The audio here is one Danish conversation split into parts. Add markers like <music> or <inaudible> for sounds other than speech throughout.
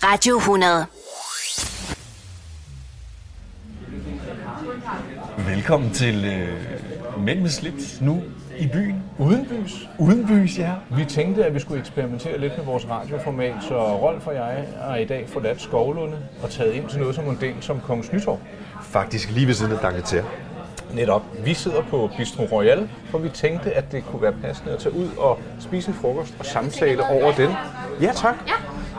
Radio 100. Velkommen til øh, Mænd med slips nu i byen. Udenbys. Udenbys, ja. Vi tænkte, at vi skulle eksperimentere lidt med vores radioformat, så Rolf og jeg er i dag forladt Skovlunde og taget ind til noget som en del som Kongens Nytorv. Faktisk lige ved siden af Danketer. Netop. Vi sidder på Bistro Royal, for vi tænkte, at det kunne være passende at tage ud og spise en frokost og samtale over den. Ja, tak.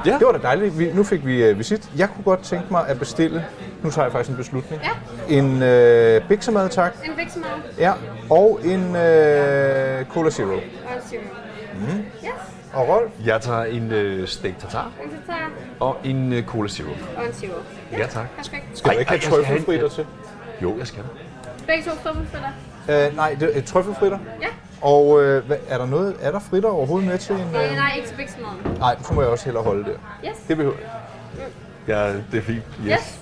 Ja. Det var da dejligt. Vi, nu fik vi øh, visit. Jeg kunne godt tænke mig at bestille, nu tager jeg faktisk en beslutning, ja. en øh, biksemad, tak. En biksemad Ja, og en øh, Cola Zero. og en syvende. Yes, Og Rolf? Jeg tager en øh, steak tartar en tatar og en øh, cola zero. og en syvende. Ja, tak. Perfekt. Skal Ej, du ikke ej, have jeg skal have en- trøffelfritter til? Jo, jeg skal. Begge to krummelfritter. Uh, nej, det er trøffelfritter. Ja. Og øh, hvad, er der noget, er der fritter overhovedet med til en... Nej, Øh... nej, ikke til biksemaden. Nej, så må jeg også hellere holde der. Yes, Det behøver jeg. Ja, det er fint. yes.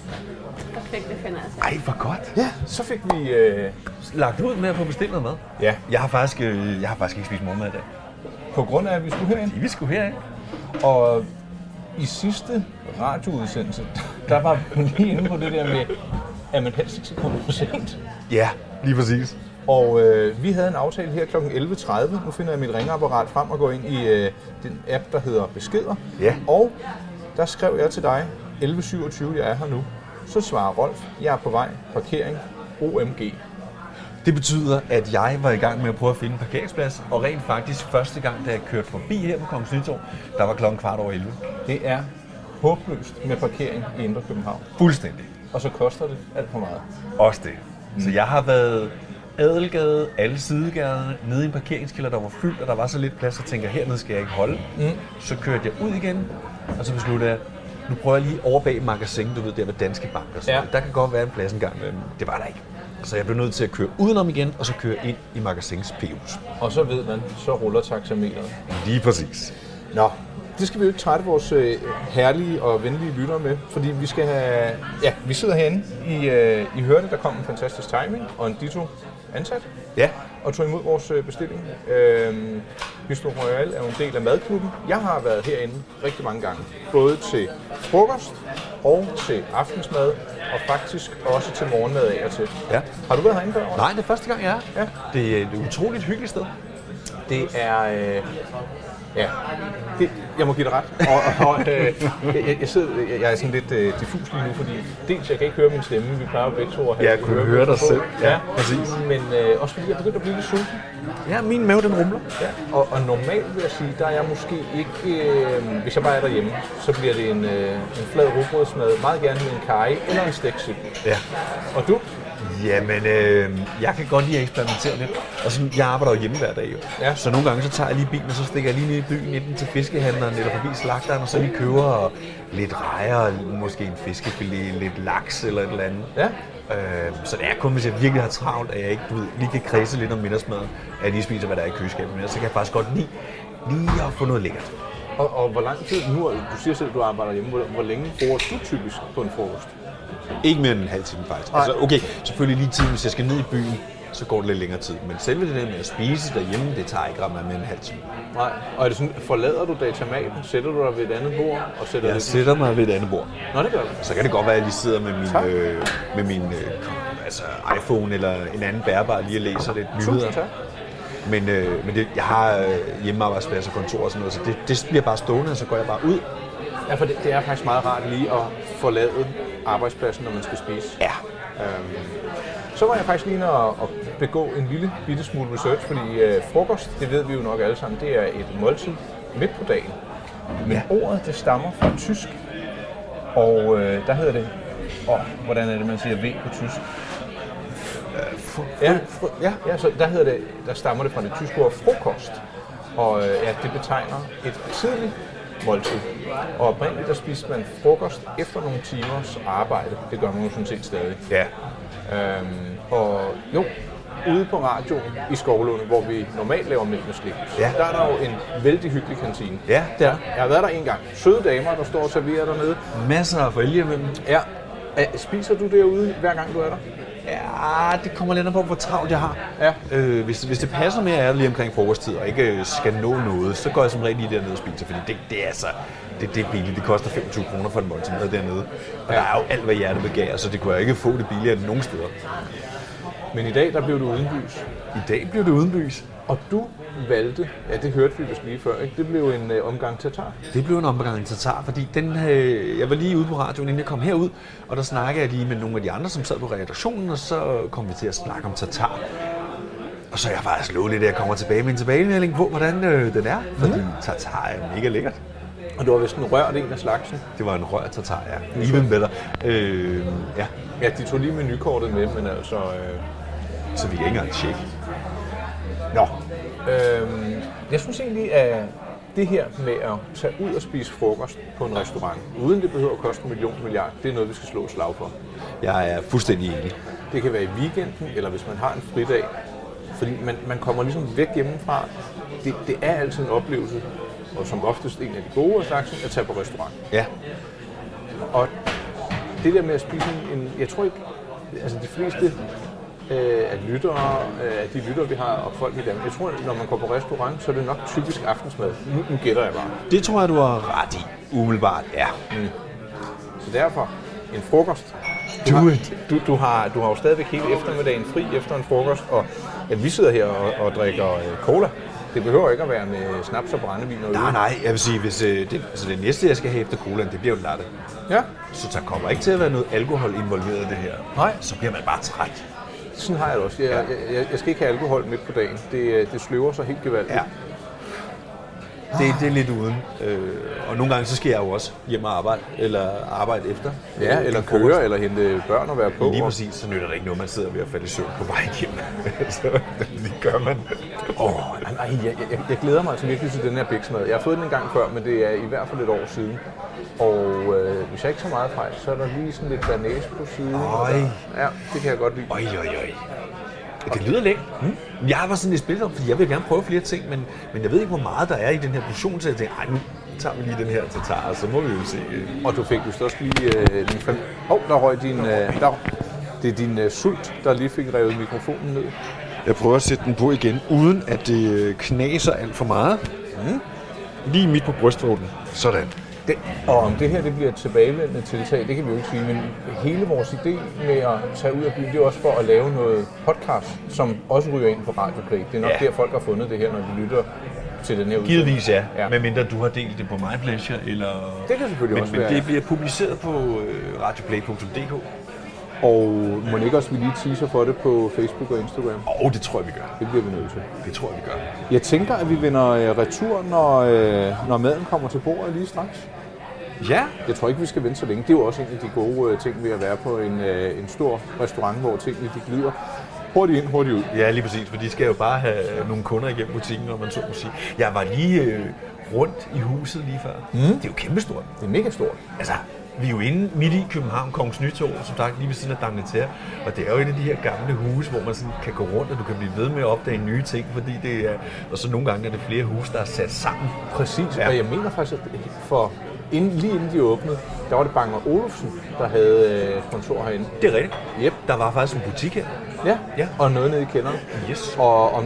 Perfekt, det finder jeg altså. Ej, hvor godt. Ja, så fik vi... Øh... Lagt ud med at få bestilt noget mad. Ja, Jeg har faktisk, øh, jeg har faktisk ikke spist morgenmad i dag. på grund af, at vi skulle herind. Vi skulle herind. Og i sidste radioudsendelse, der var hun lige inde på det der med, at man helst ikke skal komme for sent. Ja, lige præcis. Og øh, vi havde en aftale her kl. 11.30. Nu finder jeg mit ringeapparat frem og går ind i øh, den app, der hedder Beskeder. Ja. Og der skrev jeg til dig, 11.27, jeg er her nu. Så svarer Rolf, jeg er på vej, parkering, OMG. Det betyder, at jeg var i gang med at prøve at finde en parkeringsplads, og rent faktisk første gang, da jeg kørte forbi her på Kongens Nytorv, der var klokken kvart over 11. Det er håbløst med parkering i Indre København. Fuldstændig. Og så koster det alt for meget. Også det. Så jeg har været Adelgade, alle sidegaderne, nede i en parkeringskælder, der var fyldt, og der var så lidt plads, så tænker jeg, hernede skal jeg ikke holde. Mm. Så kørte jeg ud igen, og så besluttede jeg, nu prøver jeg lige over bag magasin, du ved, der ved Danske Bank og sådan Ja. noget. Der kan godt være en plads engang, men det var der ikke. Så jeg blev nødt til at køre udenom igen, og så køre ind i magasins PU's. Og så ved man, så ruller taxameteret. Lige præcis. Nå, det skal vi jo ikke trætte vores øh, herlige og venlige lyttere med, fordi vi skal have... Ja, vi sidder herinde. I, øh, I hørte, der kom en fantastisk timing, og en ditto ansat, Ja, og tog imod vores øh, bestilling. Øh, Bistro Royal er jo en del af madklubben. Jeg har været herinde rigtig mange gange, både til frokost og til aftensmad, og faktisk også til morgenmad af og til. Ja. Har du været herinde før? Nej, det er første gang, jeg er. Ja. Det er et utroligt hyggeligt sted. Det er... Øh, ja, det, jeg må give dig ret. Og, og øh, jeg, jeg, sidder, jeg, jeg er sådan lidt øh, diffus lige nu, fordi dels jeg kan ikke høre min stemme. Vi plejer jo begge to at have Ja, kunne høre dig på. selv. Ja, Ja, præcis. Men øh, også fordi jeg er begyndt at blive lidt sulten. Ja, min mave den rumler. Ja. Og, og normalt vil jeg sige, der er jeg måske ikke... Øh, hvis jeg bare er derhjemme, så bliver det en, øh, en flad rugbrødsmad. Meget gerne med en karry eller en stegsild. Ja. Og du? Jamen, øh, jeg kan godt lide at eksperimentere lidt. Og sådan, jeg arbejder jo hjemme hver dag jo. Ja. Så nogle gange så tager jeg lige bilen, og så stikker jeg lige ned i byen, enten til fiskehandleren eller forbi slagteren, og så lige køber lidt rejer, og måske en fiskefilet, lidt laks eller et eller andet. Ja. Øh, så det er kun, hvis jeg virkelig har travlt, at jeg ikke du ved, lige kan kredse lidt om middagsmaden, at jeg lige spiser, hvad der er i køleskabet. Men ellers så kan jeg faktisk godt lide lige at få noget lækkert. Og, og hvor lang tid nu? Du siger selv, at du arbejder hjemme. Hvor, hvor længe bruger du typisk på en frokost? Ikke mere end en halv time faktisk. Altså okay, selvfølgelig lige tiden, hvis jeg skal ned i byen, så går det lidt længere tid. Men selve det der med at spise derhjemme, det tager ikke ret meget mere end en halv time. Nej, og er det sådan, forlader du datamaten, sætter du dig ved et andet bord og sætter Jeg det... sætter mig ved et andet bord. Nå, det gør du. Så kan det godt være, at jeg lige sidder med Tak. min, øh, med min øh, kom- altså iPhone eller en anden bærbar lige og læser lidt Tusind tak. nyheder. Men, øh, men det, jeg har øh, hjemmearbejdsplads og kontor og sådan noget, så det, det bliver bare stående, og så går jeg bare ud. Ja, for det, det er faktisk meget rart lige at forlade arbejdspladsen, når man skal spise. Ja. Så var jeg faktisk lige inde og, og begå en lille bitte smule research, fordi øh, frokost, det ved vi jo nok alle sammen, det er et måltid midt på dagen. Men Ja. ja. ordet, det stammer fra tysk, og øh, der hedder det... Åh, hvordan er det, man siger V på tysk? Ja, fro- ja, ja så der, hedder det, der stammer det fra det tyske ord frokost. Og øh, ja, det betegner et tidligt måltid. Og oprindeligt der spiste man frokost efter nogle timers arbejde. Det gør man jo sådan set stadig. Ja. Øhm, og jo, ude på radioen i Skovlunde, hvor vi normalt laver mænd med slik, Ja. der er der jo en vældig hyggelig kantine. Ja, det er. Jeg har været der en gang. Søde damer, der står og serverer dernede. Masser af forældre imellem. Ja. Øh, Spiser du derude, hver gang du er der? Ja, det kommer lidt an på, hvor travlt jeg har. Ja. Øh, hvis, hvis det passer med, at jeg er lige omkring frokosttid og ikke øh, skal nå noget, så går jeg som regel lige derned og spiser, fordi det, det er altså, det, det er billigt. Det koster 25 kroner for en måltid mad dernede. Og der er jo alt, hvad hjertet begærer, så det kunne jeg ikke få det billigere end nogen steder. Men i dag, der blev du udenbys. I dag blev det udenbys. Og du valgte, ja det hørte vi vist lige før, ikke? det blev en øh, omgang tatar. Det blev en omgang tatar, fordi den, øh, jeg var lige ude på radioen, inden jeg kom herud, og der snakkede jeg lige med nogle af de andre, som sad på redaktionen, og så kom vi til at snakke om tatar. Og så er jeg faktisk lovet lidt, at jeg kommer tilbage med en tilbagemelding på, hvordan øh, den er, fordi mm. tatar er mega lækkert. Og du var vist en rørt en af slagsen. Det var en rør tatar, ja. Even better. Øh, ja, Ja, de tog lige menukortet med, men altså... Øh, så vi kan ikke engang tjekke. Nå, øh, jeg synes egentlig, at det her med at tage ud og spise frokost på en restaurant, uden det behøver at koste en million milliard, det er noget, vi skal slå et slag for. jeg er fuldstændig enig. Det kan være i weekenden, eller hvis man har en fridag. Fordi man, man kommer ligesom væk hjemmefra. Det, det er altid en oplevelse, og som oftest en af de gode af slagsen, at tage på restaurant. Ja, Og det der med at spise en, en jeg tror ikke, altså de fleste øh, af lyttere, øh, af de lyttere, vi har, og folk i Danmark, jeg tror, at når man går på restaurant, så er det nok typisk aftensmad. Nu, nu gætter jeg bare. det tror jeg, du har ret i. Umiddelbart, ja. Så derfor, en frokost. Do har, it. Du, du, har, du har jo stadigvæk hele eftermiddagen fri efter en frokost, og at vi sidder her og, og drikker øh, cola. Det behøver ikke at være med snaps og brændevin og Nej, øl. nej, jeg vil sige, hvis øh, det, altså det næste, jeg skal have efter colaen, det bliver jo en latte. Ja, Så der kommer ikke til at være noget alkohol involveret i det her. Nej. Så bliver man bare træt. sådan har jeg det også. Jeg, jeg, jeg, jeg skal ikke have alkohol midt på dagen. Det, øh, det sløver sig helt gevaldigt. Ja. Det, det er lidt uden. Øh, og nogle gange, så skal jeg jo også hjem og arbejde, eller arbejde efter. Ja, Øh, eller en frokost. køre, eller hente børn og være på. Lige og- præcis, så nytter det ikke noget, man sidder ved at falde i søvn på vej hjem. <laughs> så det gør man. Åh, oh, nej, jeg, jeg, jeg glæder mig altså virkelig til den her biksmad. Jeg har fået den en gang før, men det er i hvert fald et år siden. Og øh, hvis jeg ikke så meget fejl, så er der lige sådan lidt banæs på siden. og Øj. der- Ja, det kan jeg godt lide. Oj, oj, oj. Det lyder lækkert. Mm. Jeg var sådan lidt spillet om, fordi jeg vil gerne prøve flere ting, men, men jeg ved ikke, hvor meget der er i den her portion, så jeg tænkte, ej, nu tager vi lige den her tatar, og så må vi jo se. øh." Og du fik vist også lige øh, din fem... Åh, oh, der røg din... Øh, der... Det er din øh, sult, der lige fik revet mikrofonen ned. Jeg prøver at sætte den på igen, uden at det øh, knaser alt for meget. Mm. Lige midt på brystvorten. Sådan. Det, og om det her det bliver et tilbagevendende tiltag, det kan vi jo ikke sige, men hele vores idé med at tage ud af byen, det er også for at lave noget podcast, som også ryger ind på Radioplay. Det er nok Ja. der, folk har fundet det her, når de lytter til den her udsendelse. Givetvis ja, Ja. ja. medmindre du har delt det på My Pleasure, eller... Det kan selvfølgelig men, også men være, ja. det bliver publiceret på øh, radioplay.dk. Og må det ikke også vi lige teaser for det på Facebook og Instagram? Og det tror jeg, vi gør. Det bliver vi nødt til. Det tror jeg, vi gør. Jeg tænker, at vi vender øh, retur, når, øh, når maden kommer til bordet lige straks. Ja, Jeg tror ikke, vi skal vente så længe. Det er jo også en af de gode øh, ting ved at være på en, øh, en stor restaurant, hvor tingene de glider hurtigt ind, hurtigt ud. Ja, lige præcis, for de skal jo bare have nogle kunder igennem butikken, når man så må sige. Jeg var lige øh, rundt i huset lige før. Mm. Det er jo kæmpestort. Det er mega stort. Altså, vi er jo inde midt i København, Kongens Nytorv, som sagt lige ved siden af Damnetær. Og det er jo et af de her gamle huse, hvor man sådan kan gå rundt, og du kan blive ved med at opdage nye ting, fordi det er... Og så nogle gange er det flere huse, der er sat sammen. Præcis, ja. Ja. og jeg mener faktisk, at for inden, lige inden de åbnede, der var det Banger Olufsen, der havde øh, kontor herinde. Det er rigtigt. Yep. Der var faktisk en butik her. Ja, ja, Ja. og noget nede i kælderen. Yes. Og om,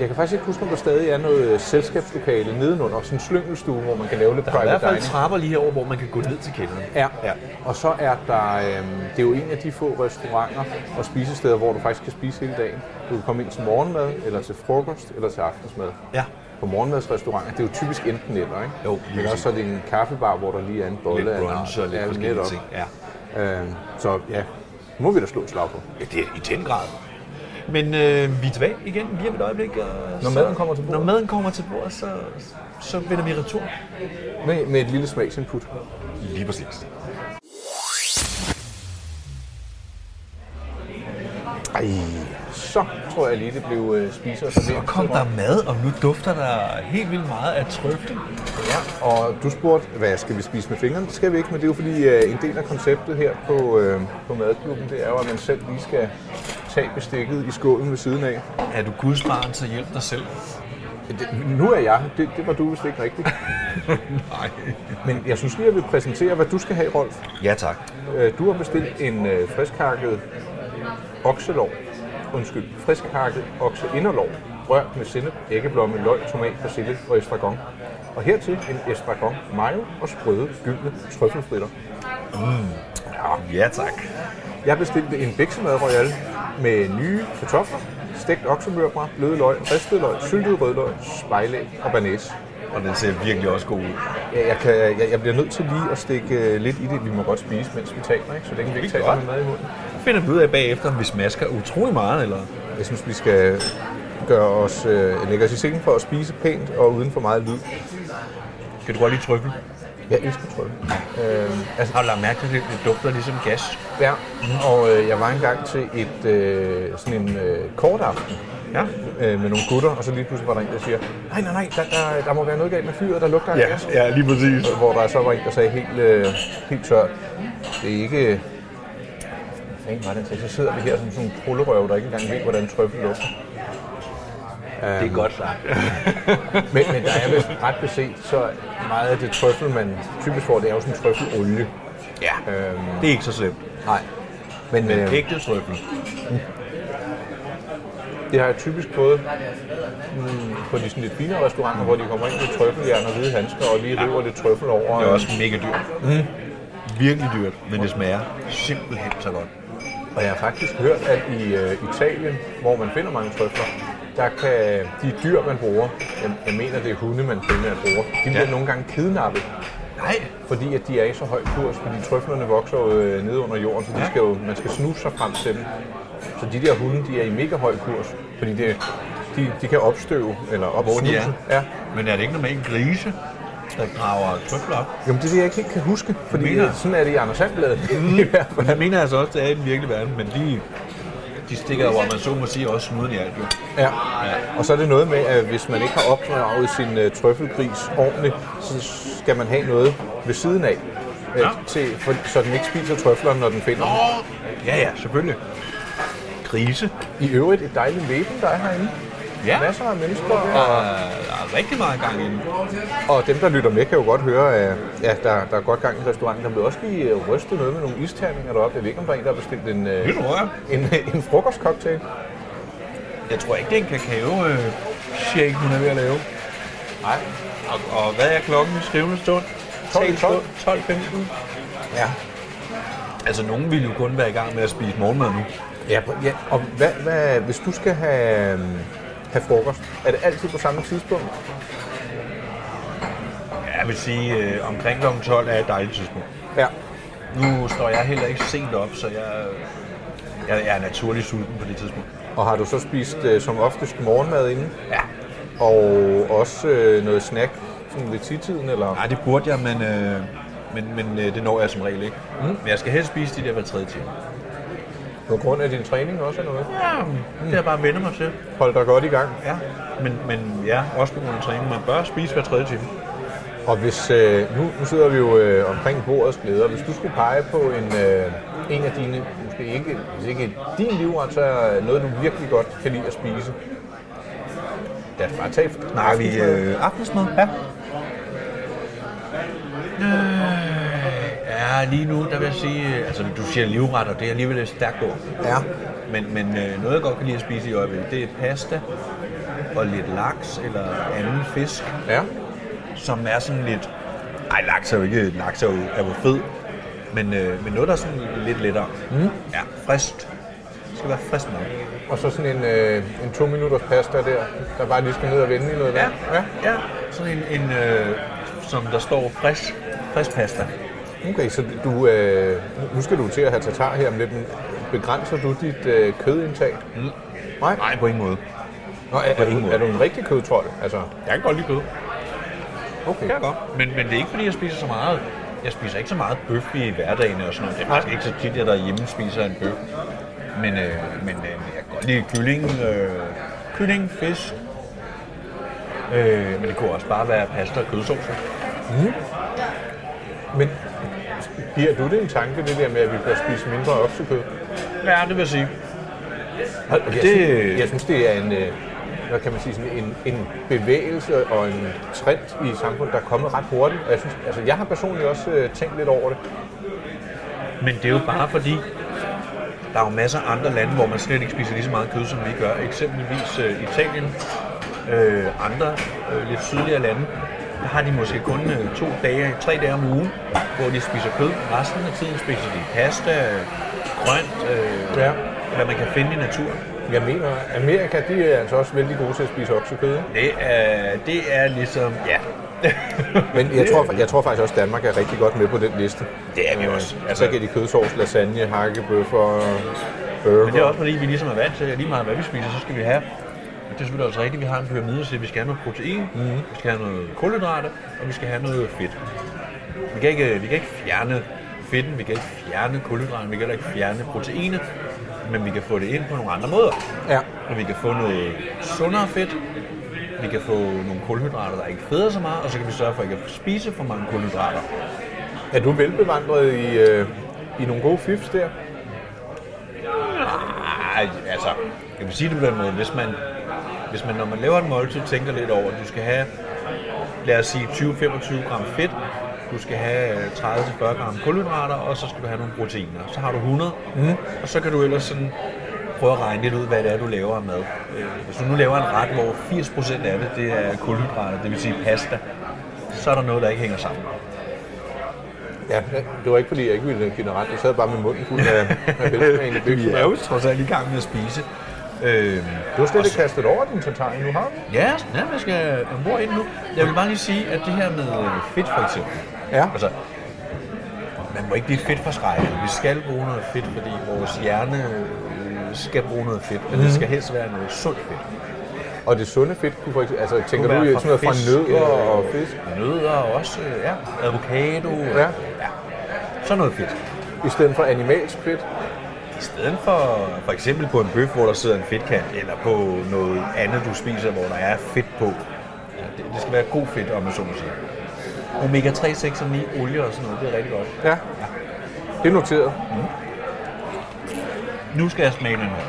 jeg kan faktisk ikke huske, om der stadig er noget øh, selskabslokale nedenunder, sådan en slyngelstue, hvor man kan lave lidt Der er i hvert private fald dining. trapper lige herover, hvor man kan gå ned til kælderen. Ja. ja. Ja. Og så er der, øhm, det er jo en af de få restauranter og spisesteder, hvor du faktisk kan spise hele dagen. Du kan komme ind til morgenmad, eller til frokost, eller til aftensmad. Ja. På morgenmadsrestauranter, det er jo typisk enten eller, ikke? Jo, lige Men også præcis. så er det en kaffebar, hvor der lige er en bolle. Lidt af en brunch art. og lidt Ja, forskellige netop. ting. Ja. Øhm, så ja, nu må vi da slå et slag på. Ja, det er i den grad. Men øh, vi er tilbage igen lige om et øjeblik. Og Når maden kommer til bordet. Når maden kommer til bordet, så, så vender vi retur. Med, med et lille smagsinput. Lige præcis. Ej, så tror jeg lige, det blev øh, spiser og Så serveret. kom der mad, og nu dufter der helt vildt meget af trøfle. Ja, og du spurgte, hvad skal vi spise med fingrene? Det skal vi ikke, men det er jo fordi, øh, en del af konceptet her på, øh, på Madklubben, det er jo, at man selv lige skal tage bestikket i skålen ved siden af. Er du gudsbarn, så hjælp dig selv. Det, nu er jeg. Det, det var du vist ikke rigtigt. Nej. Men jeg synes lige, at jeg vil præsentere, hvad du skal have, Rolf. Ja, tak. Øh, du har bestilt en øh, friskhakket okselov. Undskyld, friskhakket okseinderlov. Rørt med sennep, æggeblomme, løg, tomat, persille og estragon. Og hertil en espargon mayo og sprøde gyldne trøffelfritter. Ja, tak. Jeg bestilte en biksemad royal med nye kartofler, stegt oksemørbrad, bløde løg, ristet løg, syltet rødløg, spejlæg og banæs. Og den ser virkelig også god ud. Ja, jeg, kan, jeg, jeg bliver nødt til lige at stikke øh, lidt i det. Vi må godt spise, mens vi taler, ikke? så det kan vi ikke Vi tale godt. med mad i munden. Finder vi ud af bagefter, om vi smasker utrolig meget, eller? Jeg synes, vi skal gøre os, øh, lægge os i selen for at spise pænt og uden for meget lyd. Kan du godt lide trøffel? Jeg elsker trøl. Øh, altså, Har du lagt mærke til, at det dufter ligesom gas? ja. Og øh, jeg var engang til et, øh, sådan en øh, kort aften Ja. øh, med nogle gutter, og så lige pludselig var der en, der siger, nej, nej, nej, der, der, der må være noget galt med fyret, der lugter af gas. ja, lige præcis. Hvor der så var en, der sagde helt, øh, helt tørt, det er ikke... Hvad fanden var det, han sagde? så sidder vi her som sådan nogle prullerøv, der ikke engang ved, hvordan trøffel lugter. Det er godt sagt. Men, men der er vist ret beset, så meget af det trøffel, man typisk får, det er jo sådan en trøffelolie. Ja, Øhm. Øhm. det er ikke så slemt. Nej. Men, men øh, Ægte trøffel. det har jeg typisk fået mm, på de sådan lidt finere restauranter, hvor de kommer ind med trøffeljern og hvide handsker og lige river lidt trøffel over. Det er også mega dyrt. Mm. Virkelig dyrt, men det smager simpelthen så godt. Og jeg har faktisk hørt, at i øh, Italien, hvor man finder mange trøfler, der kan de dyr, man bruger, jeg, jeg mener det er hunde, man primært bruger, de bliver nogle gange kidnappet, Nej. fordi at de er i så høj kurs, fordi trøflerne vokser jo øh, nede under jorden, så de skal jo, man skal snuse sig frem til dem. Så de der hunde, de er i mega høj kurs, fordi det, de, de kan opstøve eller Hvor de opsnuse. er. Ja. Men er det ikke normalt grise, der graver trøffel op? Jamen det er det, jeg ikke helt kan huske, fordi Mener. Mm. øh, sådan er det i Anders Sandblad <laughs> i hvert fald. Men det mener altså også, det er i den virkelige verden, men de, de stikker jo, om man så må sige, også snuden i alt. Jo. Ja. Og så er det noget med, at hvis man ikke har opdraget sin uh, trøffelgris ordentligt, så skal man have noget ved siden af, uh, Ja. til, for, så den ikke spiser trøflerne, når den finder dem. Ja, ja, selvfølgelig. Grise. I øvrigt et dejligt væben, der er herinde. Ja. Masser af mennesker, og, Og der er rigtig meget gang i den. og dem, der lytter med, kan jo godt høre, at ja, der, der er godt gang i restauranten. Der blev også lige øh, rystet noget med nogle isterninger deroppe. Jeg ved ikke, om der er en, der har bestilt en, øh, Det tror jeg. en, <laughs> en frokostcocktail. Jeg tror ikke, det er en kakao øh, shake, hun er ved at lave. Nej. Og, og hvad er klokken i skrivende stund? 12. 12.15. Ja. Altså, nogen ville jo kun være i gang med at spise morgenmad nu. Ja, pr- ja. og hvad, hvad, hvis du skal have, øhm, have frokost, er det altid på samme tidspunkt? Jeg vil sige, øh, omkring kl. 12 er et dejligt tidspunkt. Ja. Nu står jeg heller ikke sent op, så jeg, jeg, jeg er naturlig sulten på det tidspunkt. Og har du så spist øh, som oftest morgenmad inden? Ja. Og også øh, noget snack sådan ved tidtiden, eller? Nej, det burde jeg, men, øh, men, men øh, det når jeg som regel ikke. Mm. Men jeg skal helst spise de der hver tredje time. På grund af din træning også, eller hvad? Ja, det er bare at vende mig til. Hold dig godt i gang. Mm. Ja. Men, men ja, også på grund af træning. Man bør spise hver tredje time. Og hvis, øh, nu, nu sidder vi jo øh, omkring bordets glæder. Hvis du skulle pege på en, øh, en af dine, måske ikke, hvis ikke din livret, så er noget, du virkelig godt kan lide at spise. Lad os bare tage Nej, vi øh, aftensmad. Ja. Øh, ja, lige nu, der vil jeg sige, øh, altså du siger livret, og det er alligevel et stærkt ord. Ja. Men, men øh, noget, jeg godt kan lide at spise i øjeblikket, det er pasta og lidt laks eller anden fisk, Ja. som er sådan lidt... Ej, laks er jo ikke... Laks er jo, er jo fed, men, øh, men noget, der er sådan lidt lettere. Mm. Ja, frist. Det skal være frist nok. Og så sådan en, øh, en to minutters pasta der, der bare lige skal ned og vende i noget vand. ja. ja. Sådan en, en øh, som der står frisk, frisk pasta. Okay, så du, øh, nu skal du til at have tatar her om lidt, men begrænser du dit øh, kødindtag? Mm. Nej? Nej, på ingen måde. Nå, er, på er, ingen du, måde. er du en rigtig kødtrold? Altså, Jeg kan godt lide kød. okay. Det kan jeg godt. Men, men det er ikke, fordi jeg spiser så meget. Jeg spiser ikke så meget bøf i hverdagen og sådan noget. Det er faktisk ikke så tit, jeg derhjemme spiser en bøf. Men, øh, men øh, jeg kan godt lide kylling, øh, kylling fisk. Øh, men det kunne også bare være pasta og kødsovs. Men giver du det en tanke, det der med, at vi bør spise mindre oksekød? Ja, det vil jeg sige. Hold, jeg, det- synes, jeg synes, det er en, øh, hvad kan man sige, sådan en, en bevægelse og en trend i samfundet, der er kommet ret hurtigt. Og jeg, synes, altså, jeg har personligt også øh, tænkt lidt over det. Men det er jo bare fordi, der er jo masser af andre lande, hvor man slet ikke spiser lige så meget kød, som vi gør. Eksempelvis øh, Italien, øh, andre øh, lidt sydligere lande, har de måske kun øh, to dage, tre dage om ugen, hvor de spiser kød. Resten af tiden spiser de pasta, øh, grønt, øh, Ja. ja. hvad man kan finde i naturen. Jeg mener, Amerika, de er altså også vældig gode til at spise oksekød. ikke? Det er, det er ligesom, ja, Men jeg tror, jeg tror faktisk også, at Danmark er rigtig godt med på den liste. det er vi også. Altså, så kan de kødsovs, lasagne, hakkebøffer, Men det er burger. også fordi, vi ligesom er vant til, at lige meget hvad vi spiser, så skal vi have og det er selvfølgelig også rigtigt, vi har en pyramide, så vi skal have noget protein, mm-hmm. vi skal have noget kulhydrater, og vi skal have noget fedt. Vi kan ikke, vi kan ikke fjerne fedten, vi kan ikke fjerne kulhydraterne, vi kan heller ikke fjerne proteinet, men vi kan få det ind på nogle andre måder. Ja. Og vi kan få noget sundere fedt, vi kan få nogle kulhydrater, der ikke fedder så meget, og så kan vi sørge for ikke at spise for mange kulhydrater. Er du velbevandret i, øh, i nogle gode fifs der? Ej, altså, jeg vil sige det på den måde, hvis man, hvis man når man laver et måltid, tænker lidt over, at du skal have, lad os sige, 20-25 gram fedt, du skal have øh, 30-40 gram kulhydrater, og så skal du have nogle proteiner. Så har du 100, mm. og så kan du ellers sådan prøve at regne lidt ud, hvad det er, du laver af mad. Øh, Hvis du nu laver en ret, hvor 80% af det, det er kulhydrater, det vil sige pasta, så er der noget, der ikke hænger sammen. Ja, det var ikke fordi, jeg ikke ville give dig ret. Jeg sad bare med munden fuld af, af velsmagende bøffer. Vi er jo trods alt i gang med at spise. Øh, Du har slet ikke kastet over din tatar endnu, har du? Ja, ja jeg skal ombord ind nu. Jeg vil bare lige sige, at det her med øh, fedt for eksempel. Ja. Altså, man må ikke blive fedt for skrækket. Vi skal bruge noget fedt, fordi vores hjerne øh, skal bruge noget fedt. Men Mhm. det skal helst være noget sundt fedt. Og det sunde fedt kunne for eksempel, altså tænker Kunne du i være sådan noget fra fisk, nødder øh, og fisk? Nødder og også, øh, ja, avocado. Ja. ja. Sådan noget fedt. I stedet for animalsk fedt? I stedet for for eksempel på en bøf, hvor der sidder en fedtkant, eller på noget andet, du spiser, hvor der er fedt på. Ja, det, det skal være god fedt, om man så må sige. Omega 3, 6 og 9, olie og sådan noget, det er rigtig godt. Ja. Det er noteret. Nu skal jeg smage den her.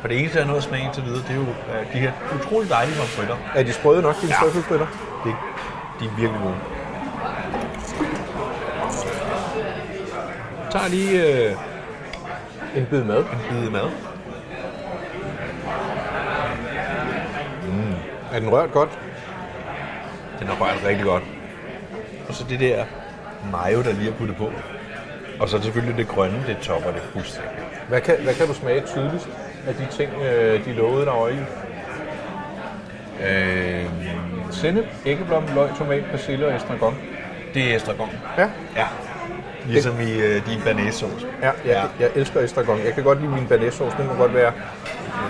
For det eneste, jeg har nået at smage indtil videre, det er jo øh, de her utrolig dejlige pomfritter. Er de sprøde nok, dine Ja. trøffelfritter? Det, de er virkelig gode. Jeg tager lige øh, En bid mad. en bid mad. Er den rørt godt? Den har rørt rigtig godt. Og så det der mayo, der lige er puttet på. Og så selvfølgelig det grønne, det topper det fuldstændig. Hvad kan, hvad kan du smage tydeligst af de ting, øh, de lovede dig over i? Øh, Sennep, æggeblom, løg, tomat, persille og estragon. det er estragon. Ja. Ja. Ligesom i øh, din banæssauce. Ja, jeg, ja. jeg elsker estragon. Jeg kan godt lide min banæssauce. Den må godt være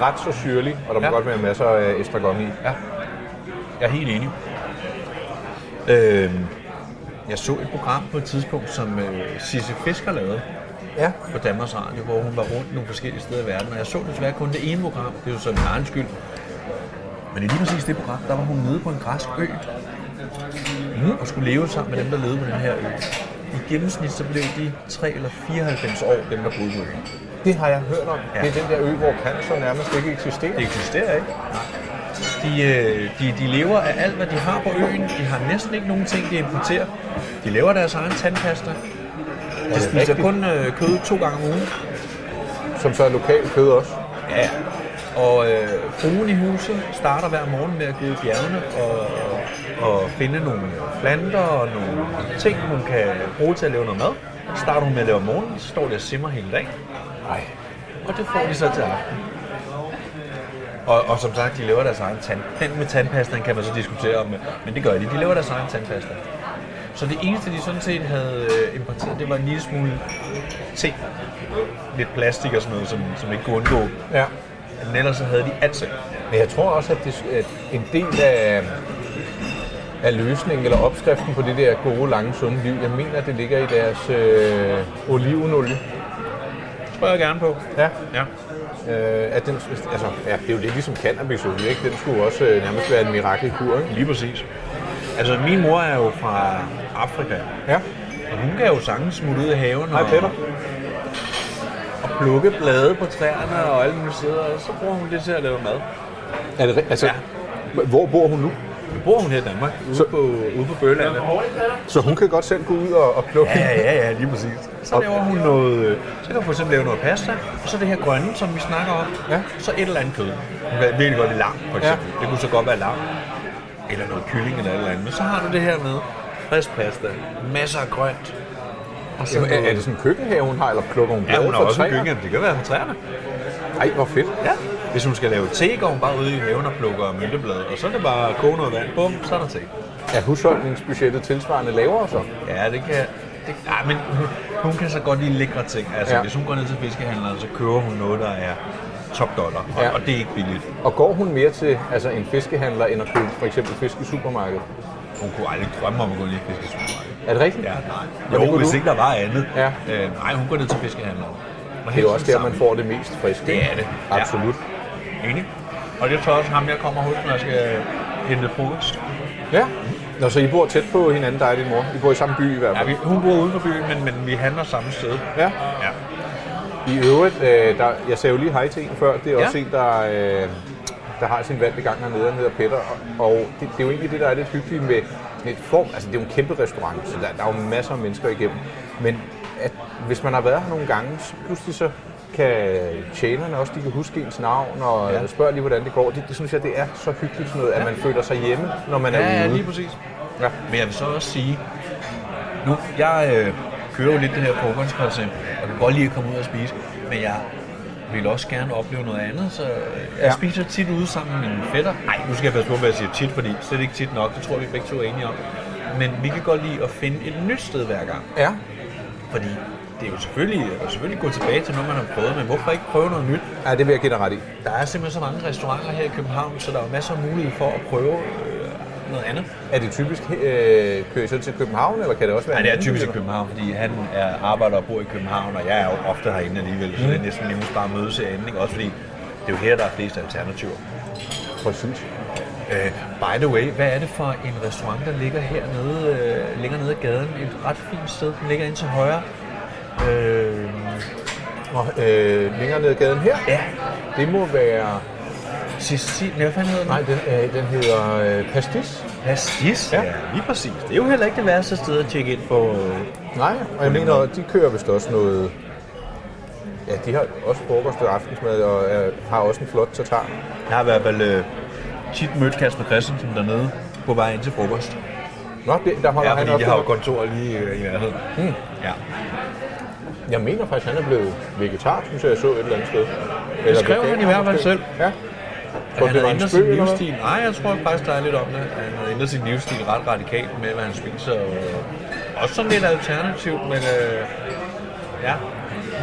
ret så syrlig, og der må Ja. godt være masser af øh, estragon i. Ja, jeg er helt enig. Øh, jeg så et program på et tidspunkt, som øh, Sisse Fisker lavede Ja. på Danmarks Radio, hvor hun var rundt nogle forskellige steder i verden, og jeg så desværre kun det ene program, det er jo så min egen skyld. Men i lige præcis det program, der var hun nede på en græsk ø, mm. og skulle leve sammen med dem, der levede på den her ø. I gennemsnit så blev de 3 eller 94 år, dem der boede på øen. Det har jeg hørt om. Ja. Det er den der ø, hvor cancer nærmest ikke eksisterer. Det eksisterer ikke. De, øh, de, de lever af alt, hvad de har på øen. De har næsten ikke nogen ting, de importerer. De laver deres egen tandpasta. De spiser rigtigt? kun øh, kød to gange om ugen. Som så er lokalt kød også. Ja. Og øh, fruen i huset starter hver morgen med at gå i bjergene og, og finde nogle planter og nogle ting, hun kan bruge til at lave noget mad. Så starter hun med at lave om morgenen, så står det og simmer hele dagen. Nej. Og det får de så til aften. Og, og som sagt, de laver deres egen tand. Den med tandpastaen kan man så diskutere om, men det gør de. De laver deres egen tandpasta. Så det eneste, de sådan set havde øh, importeret, det var en lille smule te. Lidt plastik og sådan noget, som, som ikke kunne undgå. Ja. Men ellers så havde de alt selv. Men jeg tror også, at, det, at en del af, af løsningen eller opskriften på det der gode, lange, sunde liv, jeg mener, det ligger i deres øh, olivenolie. Det tror jeg gerne på. Ja. Ja. Øh, at den, altså, ja, det er jo lidt ligesom cannabisolie, ikke? Den skulle også øh, nærmest være en mirakelkur, ikke? Lige præcis. Altså, min mor er jo fra Afrika, Ja. og hun kan jo sagtens smutte ud i haven Hej, og, Peter. og plukke blade på træerne og alle mulige steder, og så bruger hun det til at lave mad. Er det, ri- altså, ja. hvor bor hun nu? Nu bor hun her i Danmark, ude Så- så... på, ude på Bøllandet. Så hun kan godt selv gå ud og, og plukke? Ja, ja, ja, lige præcis. Så laver hun noget, øh, så kan hun for eksempel lave noget pasta, og så det her grønne, som vi snakker om, Ja. så et eller andet kød. Hun kan virkelig godt lide lam, for eksempel. Ja. Det kunne så godt være lam. eller noget kylling eller et eller andet. Men så har du det her med friskpasta, masser af grønt. Og så Jamen, er, er, noget- det sådan en køkkenhave, hun har, eller plukker hun Ja, blade hun har fra også en træer? gynge. Det kan være fra træerne. Ej, hvor fedt. Ja. Hvis hun skal lave te, går hun bare ud i haven og plukker mynteblade, og så er det bare at koge noget vand. Bum, så er der te. Er husholdningsbudgettet tilsvarende lavere så? Ja, det kan... Det, nej, men hun, hun kan så godt lide lækre ting. Altså, Ja. ja. hvis hun går ned til fiskehandleren, så køber hun noget, der er top dollar, og, Ja. ja. og det er ikke billigt. Og går hun mere til altså, en fiskehandler, end at købe for eksempel fisk i supermarkedet? Hun kunne aldrig drømme om at gå ned i fiskesupermarkedet. Er det rigtigt? Ja, nej. Og det Jo, kunne hvis du? ikke der var andet. Ja. Øh, nej, hun går ned til fiskehandleren. Og Det er jo også der, man får det mest friske. Det ikke? er det. Ja. Absolut. Enig. Og det tror jeg også ham, jeg kommer hos, når jeg skal øh, hente frokost. Ja. Nå, så I bor tæt på hinanden, dig og din mor. I bor i samme by i hvert Ja, fald. vi, hun bor uden for byen, men, men vi handler samme sted. Ja. Ja. I øvrigt, øh, der, jeg sagde jo lige hej til en før. Det er Ja. også en, der, øh, der har sin vand i gang hernede. Han hedder Peter. Og- Og det, det er jo egentlig det, der er lidt hyggeligt med sådan et form. Altså, det er jo en kæmpe restaurant, så der, der er jo masser af mennesker igennem. Men at, hvis man har været her nogle gange, så pludselig så kan tjenerne også, de kan huske ens navn og ja. spørge lige, hvordan det går. Det, det synes jeg, det er så hyggeligt sådan noget, at man føler sig hjemme, når man Ja, er ja, ude. lige præcis. Ja. Men jeg vil så også sige, nu, jeg øh, kører jo lidt det her frokostkoncept, og kan godt lide at komme ud og spise, men jeg vil også gerne opleve noget andet, så øh, jeg Ja. ja. spiser tit ude sammen med mine fætter. Nej, nu skal jeg passe på, hvad jeg siger tit, fordi slet ikke tit nok, det tror vi begge to er enige om. Men vi kan godt lide at finde et nyt sted hver gang, ja. fordi det er jo selvfølgelig, jeg vil selvfølgelig gå tilbage til noget, man har prøvet, men hvorfor ikke prøve noget nyt? Ja, det vil jeg give dig ret i. Der er simpelthen så mange restauranter her i København, så der er jo masser af mulighed for at prøve øh, noget andet. Er det typisk, øh, kører I så til København, eller kan det også være Nej, en det er anden typisk i by, eller? København, fordi han er arbejder og bor i København, og jeg er jo ofte herinde alligevel, så det er næsten nemmest bare at mødes herinde, ikke? også fordi det er jo her, der er flest alternativer. Præcis. Uh, Øh, by the way, hvad er det for en restaurant, der ligger hernede, uh, ligger nede ad gaden? Et ret fint sted, den ligger ind til højre. Uh, Og øh, længere ned ad gaden her, ja, det må være... Cecil, hvad fanden hedder den? Nej, den, øh, den hedder øh, Pastis. Pastis, ja. Ja. ja, lige præcis. Det er jo heller ikke det værste sted at tjekke ind på. Nej, og jeg mener, de kører vist også noget... Ja, de har også frokost og aftensmad, og øh, har også en flot tartar. Jeg har i hvert fald uh, tit mødt Kasper Christensen dernede på vej ind til frokost. Nå, det, der holder Ja, han fordi op. de har jo kontor lige øh, i nærheden. Mm. Ja. Jeg mener faktisk, han er blevet vegetar, synes jeg, jeg så et eller andet sted. Eller skrev veganer han i hvert fald måske. selv. Ja. Tror, Og han du, har det var en ændret spøg, sin eller hvad? livsstil. Nej, jeg tror faktisk, der er lidt om det. Han har ændret sin livsstil ret radikalt med, hvad han spiser. Og også sådan lidt alternativt, men øh, ja.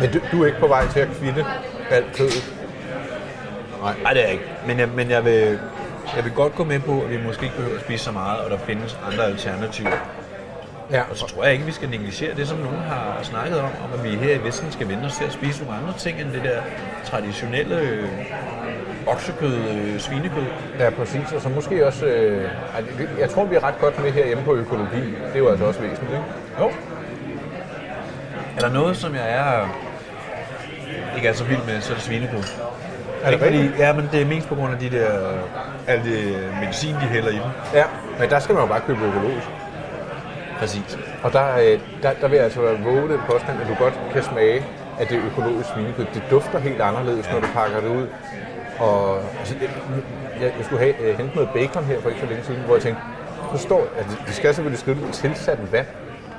Men du, du er ikke på vej til at kvitte alt kødet? Nej. Nej, det er jeg ikke. Men jeg, men jeg vil, jeg vil godt gå med på, at vi måske ikke behøver at spise så meget, og der findes andre alternativer. Ja, Og så tror jeg ikke, vi skal negligere det, som nogen har snakket om, om at vi her i Vesten skal vende os til at spise nogle andre ting, end det der traditionelle øh, oksekød, øh, svinekød. Ja, præcis. Og så måske også... Øh, ej, det- jeg tror, vi er ret godt med herhjemme på økologi. Det er jo altså også væsentligt, ikke? Jo. Er der noget, som jeg er ikke er så vild med, så er det svinekød. Er det Ikke fordi, rigtigt? ja, men det er mest på grund af de der, al det medicin, de hælder i dem. Ja, men der skal man jo bare købe økologisk. Præcis. Og der, øh, der, der vil jeg altså våge den påstand, at du godt kan smage, at det er økologisk svinekød. Det dufter helt anderledes, når du pakker det ud. Og altså, jeg, jeg, jeg skulle have, øh, hente noget bacon her for ikke så længe siden, hvor jeg tænkte, forstår, at de- de skal selvfølgelig skrive det, tilsat vand.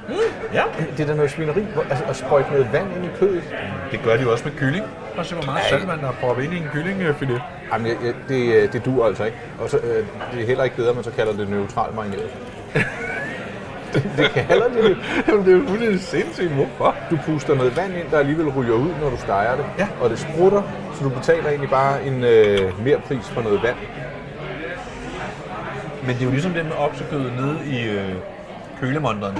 <clears throat> Ja. Det er da noget svineri, hvor, altså, at sprøjte noget vand ind i kødet. Det gør de jo også med kylling. Og se, hvor meget saltvand der er proppet ind i en øh, kyllingfilet. Jamen, jeg, jeg, det, øh, det duer altså ikke. Og så, øh, det er heller ikke bedre, at man så kalder det neutralt <laughs> marineret. det, det kalder de det. Jamen, det er jo fuldstændig sindssygt. Hvorfor? Du puster noget vand ind, der alligevel ryger ud, når du steger det. Ja. Og det sprutter, så du betaler egentlig bare en øh, mere pris for noget vand. Men det er jo ligesom det med oksekød nede i øh, kølemonteren.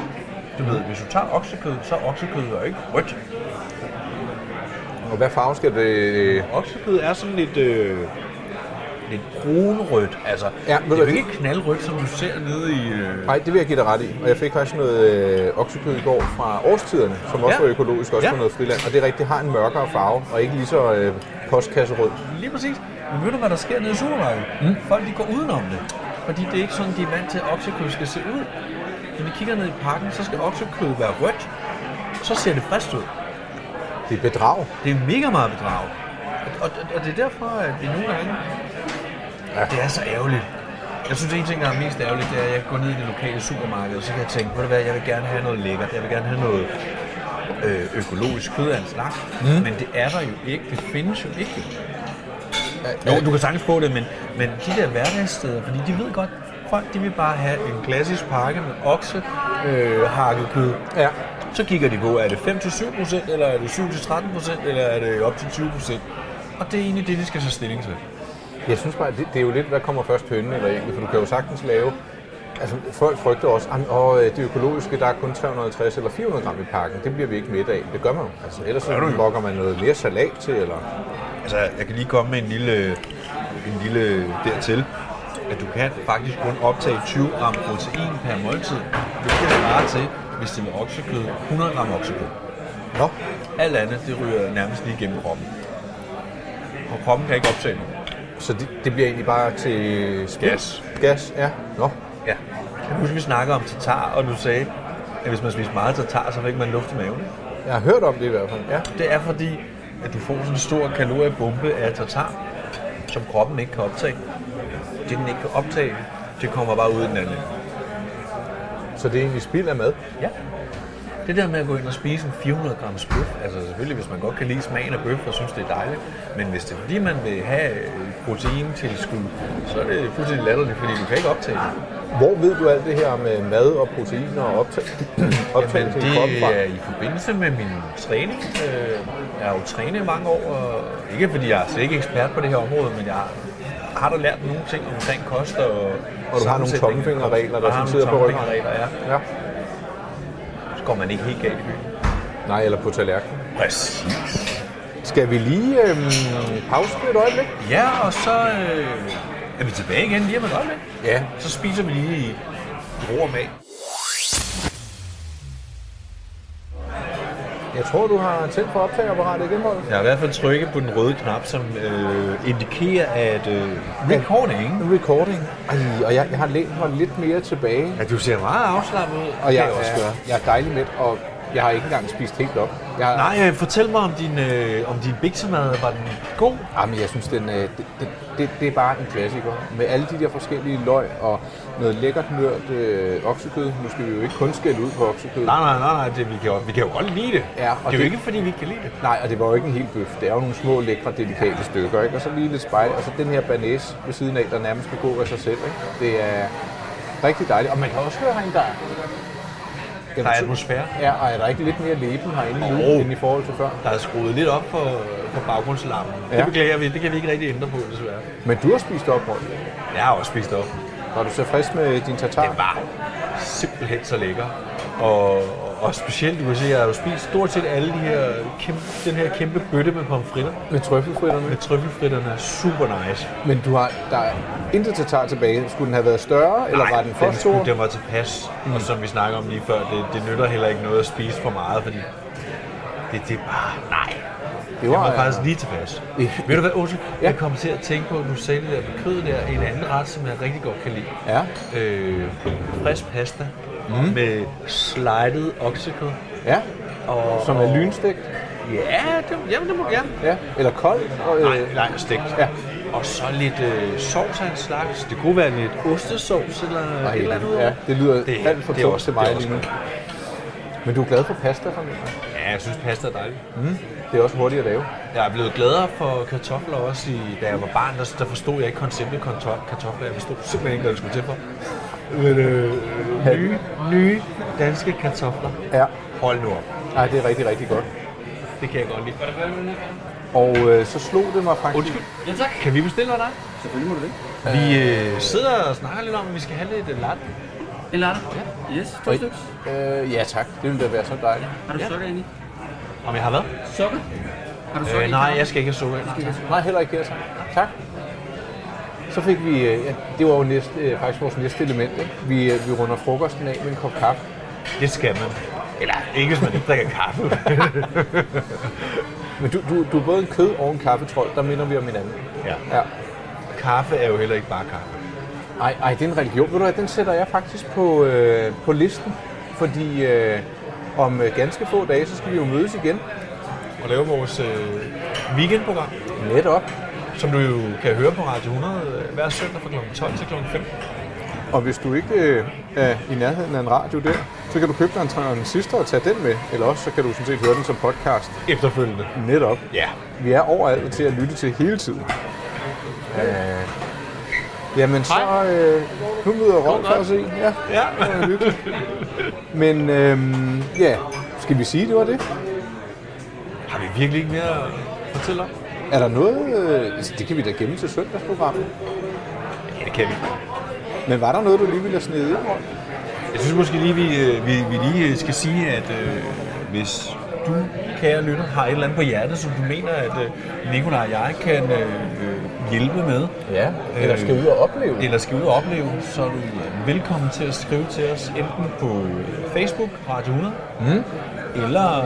Du ved, hvis du tager oksekød, så er oksekød jo ikke rødt. Og hvad farve skal det... Øh, Oksekød er sådan lidt, øh, lidt brunrødt. Altså, Ja, ja, ved det er du jo hvad, ikke knaldrødt, som du ser nede i... Øh... nej, det vil jeg give dig ret i. Og jeg fik faktisk noget øh, oksekød i går fra årstiderne, som også Ja. var økologisk, også Ja. fra noget friland. Og det er rigtigt, det har en mørkere farve, og ikke lige så øh, postkasserød. Lige præcis. Men ved du, hvad der sker nede i supermarkedet? Mm. Folk de går udenom det. Fordi det er ikke sådan, de er vant til, at oksekød skal se ud. Når vi kigger ned i pakken, så skal oksekød være rødt. Så ser det frisk ud. Det er bedrag. Det er mega meget bedrag. Og, og, og det er derfor, at vi nogle gange... Ja. Det er så ærgerligt. Jeg synes, en ting, der er mest ærgerligt, det er, at jeg går ned i det lokale supermarked, og så kan jeg tænke, ved du hvad, jeg vil gerne have noget lækkert, jeg vil gerne have noget øh, økologisk kød af en slags, mm. men det er der jo ikke, det findes jo ikke. Jo, du kan sagtens få det, men, men de der hverdagssteder, fordi de ved godt, folk de vil bare have en klassisk pakke med okse, øh, hakket kød. Ja. Så kigger de på, er det 5-7%, eller er det 7-13%, eller er det op til 20%. Og det er egentlig det, de skal tage stilling til. Jeg synes bare, det, det er jo lidt, hvad kommer først, hønnen eller ægget, for du kan jo sagtens lave... Altså, folk frygter også, at og det økologiske, der er kun 350 eller 400 gram i pakken. Det bliver vi ikke midt af. Det gør man jo. Altså, ellers så lokker man noget mere salat til, eller... Altså, jeg kan lige komme med en lille, en lille dertil, at du kan faktisk kun optage 20 gram protein per måltid, hvilket svarer til, hvis det var oksekød, 100 gram oksekød. Nå, Alt andet, det ryger nærmest lige gennem kroppen. Og kroppen kan ikke optage noget. så det, det bliver egentlig bare til... spild? Gas. Gas, ja. Nå, Ja. Jeg kan huske, vi snakkede om tatar, og du sagde, at hvis man spiser meget tatar, så fik man luft i maven. jeg har hørt om det i hvert fald. Ja. Det er fordi, at du får sådan en stor kaloriebombe af tatar, som kroppen ikke kan optage. Det den ikke kan optage, det kommer bare ud i den anden. ende. Så det er egentlig spild af mad. Ja. Det der med at gå ind og spise en 400 grams bøf, altså selvfølgelig hvis man godt kan lide smagen af bøf og synes det er dejligt, men hvis det er fordi man vil have øh, proteintilskud, så er det fuldstændig latterligt, fordi du kan ikke optage det. Hvor ved du alt det her med mad og proteiner og optag, <clears throat> Jamen, optagelse i kroppen fra? det er i forbindelse med min træning. Øh, Jeg har jo trænet i mange år, og ikke fordi jeg er slet ikke ekspert på det her område, men jeg har da lært nogle ting omkring kost og Og du har nogle tommelfingerregler, der sådan sidder på ryggen? regler, ja. Ja. Så går man ikke helt galt i byen. Nej, eller på tallerkenen. Præcis. Skal vi lige øhm, pause et øjeblik? Ja, og så øh, er vi tilbage igen lige om et øjeblik. Ja. Så spiser vi lige i ro og mag. Jeg tror, du har tændt for optageapparatet igen, Rolf. Jeg har i hvert fald trykket på den røde knap, som øh, indikerer, at øh, recording... Recording. Ej, og jeg, jeg har lænet mig lidt mere tilbage. Ja, du ser meget afslappet ud. Og jeg, kan også er, gøre. jeg er dejlig med, og jeg har ikke engang spist helt op. Jeg, Nej, øh, fortæl mig om din, øh, om din biksemad. Var den god? Jamen, jeg synes, den, øh, det, det, det, det er bare en klassiker. Med alle de der forskellige løg og noget lækkert nørt øh, oksekød. Nu skal vi jo ikke kun skælde ud på oksekød. Nej, nej, nej, nej. Det, vi, kan, jo- vi kan jo godt lide det. Ja, og det er jo det- ikke, fordi vi ikke kan lide det. Nej, og det var jo ikke en hel bøf. Det er jo nogle små, lækre, delikate stykker, ikke? Og så lige lidt spejl, og så den her banæs ved siden af, der nærmest kan gå af sig selv, ikke? Det er rigtig dejligt. Og man kan også høre herinde, der... Der er så- atmosfære. Ja, og er der ikke lidt mere leben herinde nu, Jo. end i forhold til før? Der er skruet lidt op for, for baggrundslarmen. Ja. Ja. Det beklager vi. Det kan vi ikke rigtig ændre på, desværre. Men du har spist op, Rolf. Jeg har også spist op. Var du så frisk med din tatar? Den var simpelthen så lækker. Og, og specielt, du kan se, jeg har jo spist stort set alle de her kæmpe, den her kæmpe bøtte med pomfritter. Med trøffelfritterne. Med trøffelfritterne er super nice. Men du har, der er intet tatar tilbage. Skulle den have været større, eller var den for den, skulle- stor? den var tilpas. Mm. Og som vi snakker om lige før, det, det nytter heller ikke noget at spise for meget, fordi det, det er bare... Nej, Det den var øh, faktisk lige tilpas. Ja. Ved du hvad, Otte? Ja. Jeg kom til at tænke på, at du sagde det der med kød der, en anden ret, som jeg rigtig godt kan lide. Ja, Øh, frisk pasta mm. med slidet oksekød. ja. Og, Som er og- lynstegt. Ja, det, jamen, det må gerne. Ja, eller kold. Og, øh, Nej, nej, stegt. Ja. Og så lidt øh, sovs af en slags. Det kunne være lidt ostesovs eller Ej, et eller andet. ja, det lyder Det- det, alt for det er tungt også- til det er mig også lige nu. Men du er glad for pasta, familie. Ja, jeg synes pasta er dejligt. Det er også hurtigt at lave. Jeg er blevet gladere for kartofler også, i, da jeg var barn, der, der forstod jeg ikke konceptet konto- kartofler. Jeg forstod simpelthen ikke, hvad det skulle til for. Men, øh, nye, nye danske kartofler. Ja. Hold nu op. Ej, det er rigtig, rigtig godt. Det kan jeg godt lide. Og øh, så slog det mig faktisk... Undskyld. Ja, tak. Kan vi bestille noget af dig? Selvfølgelig må du det. Vi øh, sidder og snakker lidt om, at vi skal have lidt øh, latte. En latte? Ja. Yes, to Oj. stykker. Øh, ja tak, det ville da være så dejligt. Har du sukker ind i? Om jeg har hvad? Sukker? Har du sukker Øh, i nej, kaffen? jeg skal ikke have sukker. i. Nej, heller ikke her, tak. Tak. Så fik vi... Øh, ja, det var jo næste, øh, faktisk vores næste element, ikke? Vi, øh, vi runder frokosten af med en kop kaffe. Det skal man. Eller ikke, hvis man ikke drikker <laughs> kaffe. Men du, du, du er både en kød og en kaffetrol, der minder vi om hinanden. ja. Ja. Kaffe er jo heller ikke bare kaffe. Ej, ej, det er en religion. Ved du hvad, den sætter jeg faktisk på, øh, på listen, fordi øh, om øh, ganske få dage, så skal vi jo mødes igen. Og lave vores øh, weekendprogram. Netop. som du jo kan høre på Radio 100 øh, hver søndag fra kl. 12 til kl. 15. Og hvis du ikke øh, er i nærheden af en radio der, så kan du købe dig en Trøjeren sidste og tage den med. Eller også så kan du sådan set høre den som podcast. Efterfølgende. Netop. Ja. Vi er overalt til at lytte til hele tiden. Øh, jamen så, øh, nu møder Rolf for at se. Ja, ja. det var hyggeligt. Men øhm, ja, skal vi sige, det var det? Har vi virkelig ikke mere at fortælle om? Er der noget, øh, altså, det kan vi da gemme til søndagsprogrammet. Ja, det kan vi. Men var der noget, du lige ville have snedet ind Rolf? Jeg synes måske lige, vi, øh, vi, vi lige øh, skal sige, at øh, hvis du, kære lytter, har et eller andet på hjertet, som du mener, at øh, Nicolaj og jeg kan øh, øh, hjælpe med, Ja, eller skal ud og opleve. eller skal ud og opleve, så er du øh, velkommen til at skrive til os, enten på øh, Facebook, Radio 100, mm. eller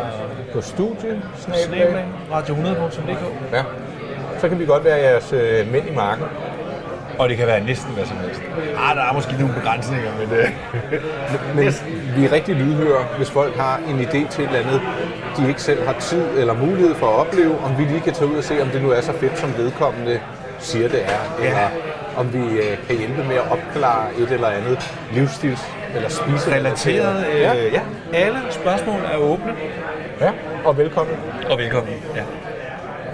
På studie, snablag. snabel-a, radio100.dk. Ja. Så kan vi godt være jeres øh, mænd i marken. Og det kan være næsten hvad som helst. Ah, der er måske nogle begrænsninger, men øh, det... Men vi er rigtig lydhøre, hvis folk har en idé til et eller andet, de ikke selv har tid eller mulighed for at opleve, om vi lige kan tage ud og se, om det nu er så fedt, som vedkommende siger, det er. Eller om vi øh, kan hjælpe med at opklare et eller andet livsstils- eller spiserelateret. <laughs> Relateret, øh, Ja. ja. Alle spørgsmål er åbne. ja, og velkommen. Og velkommen. Ja.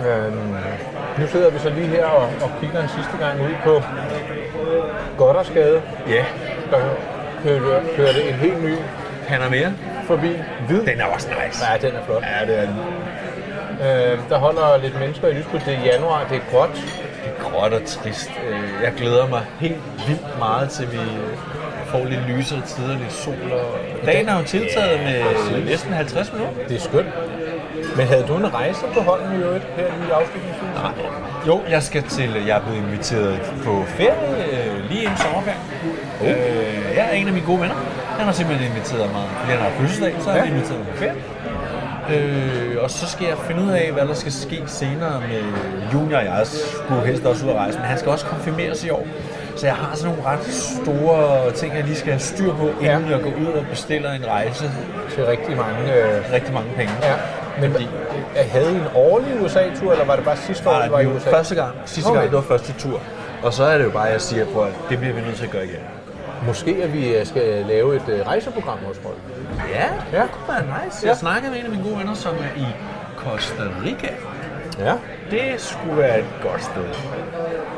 Øhm, nu sidder vi så lige her og, og kigger en sidste gang ud på Goddersgade. Ja, Der kørte, kørte en helt ny han er mere. forbi. Hvid. Den er også nice. Ja, den er flot. Ja, det er den. Øh, der holder lidt mennesker i lyskryds. Det er januar, det er gråt. Det er gråt og trist. Øh, Jeg glæder mig helt vildt meget til, vi øh, får lidt lysere tider, lidt sol. Og... Dagen har jo tiltaget med næsten 50 minutter. Det er skønt. Men havde du en rejse på hånden i øvrigt her lige i afslutningsvis? Nej. Jo, jeg skal til, jeg er blevet inviteret på ferie øh, lige inden sommerferien. Oh. Øh, jeg er en af mine gode venner. Han har simpelthen inviteret mig, fordi han har fødselsdag, så har han inviteret mig på ferie. Øh, og så skal jeg finde ud af, hvad der skal ske senere med Junior og jeg skulle helst også ud at rejse, men han skal også konfirmeres i år. Så jeg har sådan nogle ret store ting, jeg lige skal have styr på, inden jeg går ud og bestiller en rejse. Til rigtig mange... Øh, Rigtig mange penge. ja. Men Fordi- Fordi... havde I en årlig USA-tur, eller var det bare sidste år, Nej, du var i det var USA? første gang. Sidste gang, Okay. det var første tur. Og så er det jo bare, at jeg siger på, at det bliver vi nødt til at gøre igen. Måske at vi øh, skal lave et øh, rejseprogram hos folk. Ja, Ja. det kunne være nice. Jeg snakkede med en af mine gode venner, som er i Costa Rica. Ja. Det skulle være et godt sted.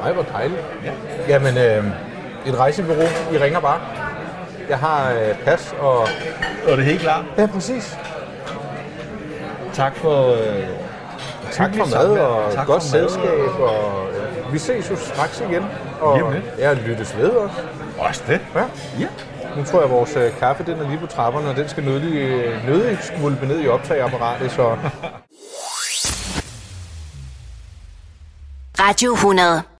Ej, hvor dejligt. Ja. Jamen, øh, et rejsebureau, I ringer bare. Jeg har øh, pas og... Og det er helt klart. Ja, præcis. Tak for... Øh, Tak for hyggeligt mad samvær. og Tak godt for mad. selskab. Og, øh, vi ses jo straks igen. Og Lige om lidt. jeg lyttes ved også. Også det. Ja. Ja. Nu tror jeg, at vores øh, kaffe den er lige på trapperne, og den skal nødig, øh, nødig skvulpe ned i optageapparatet. Så Radio 100.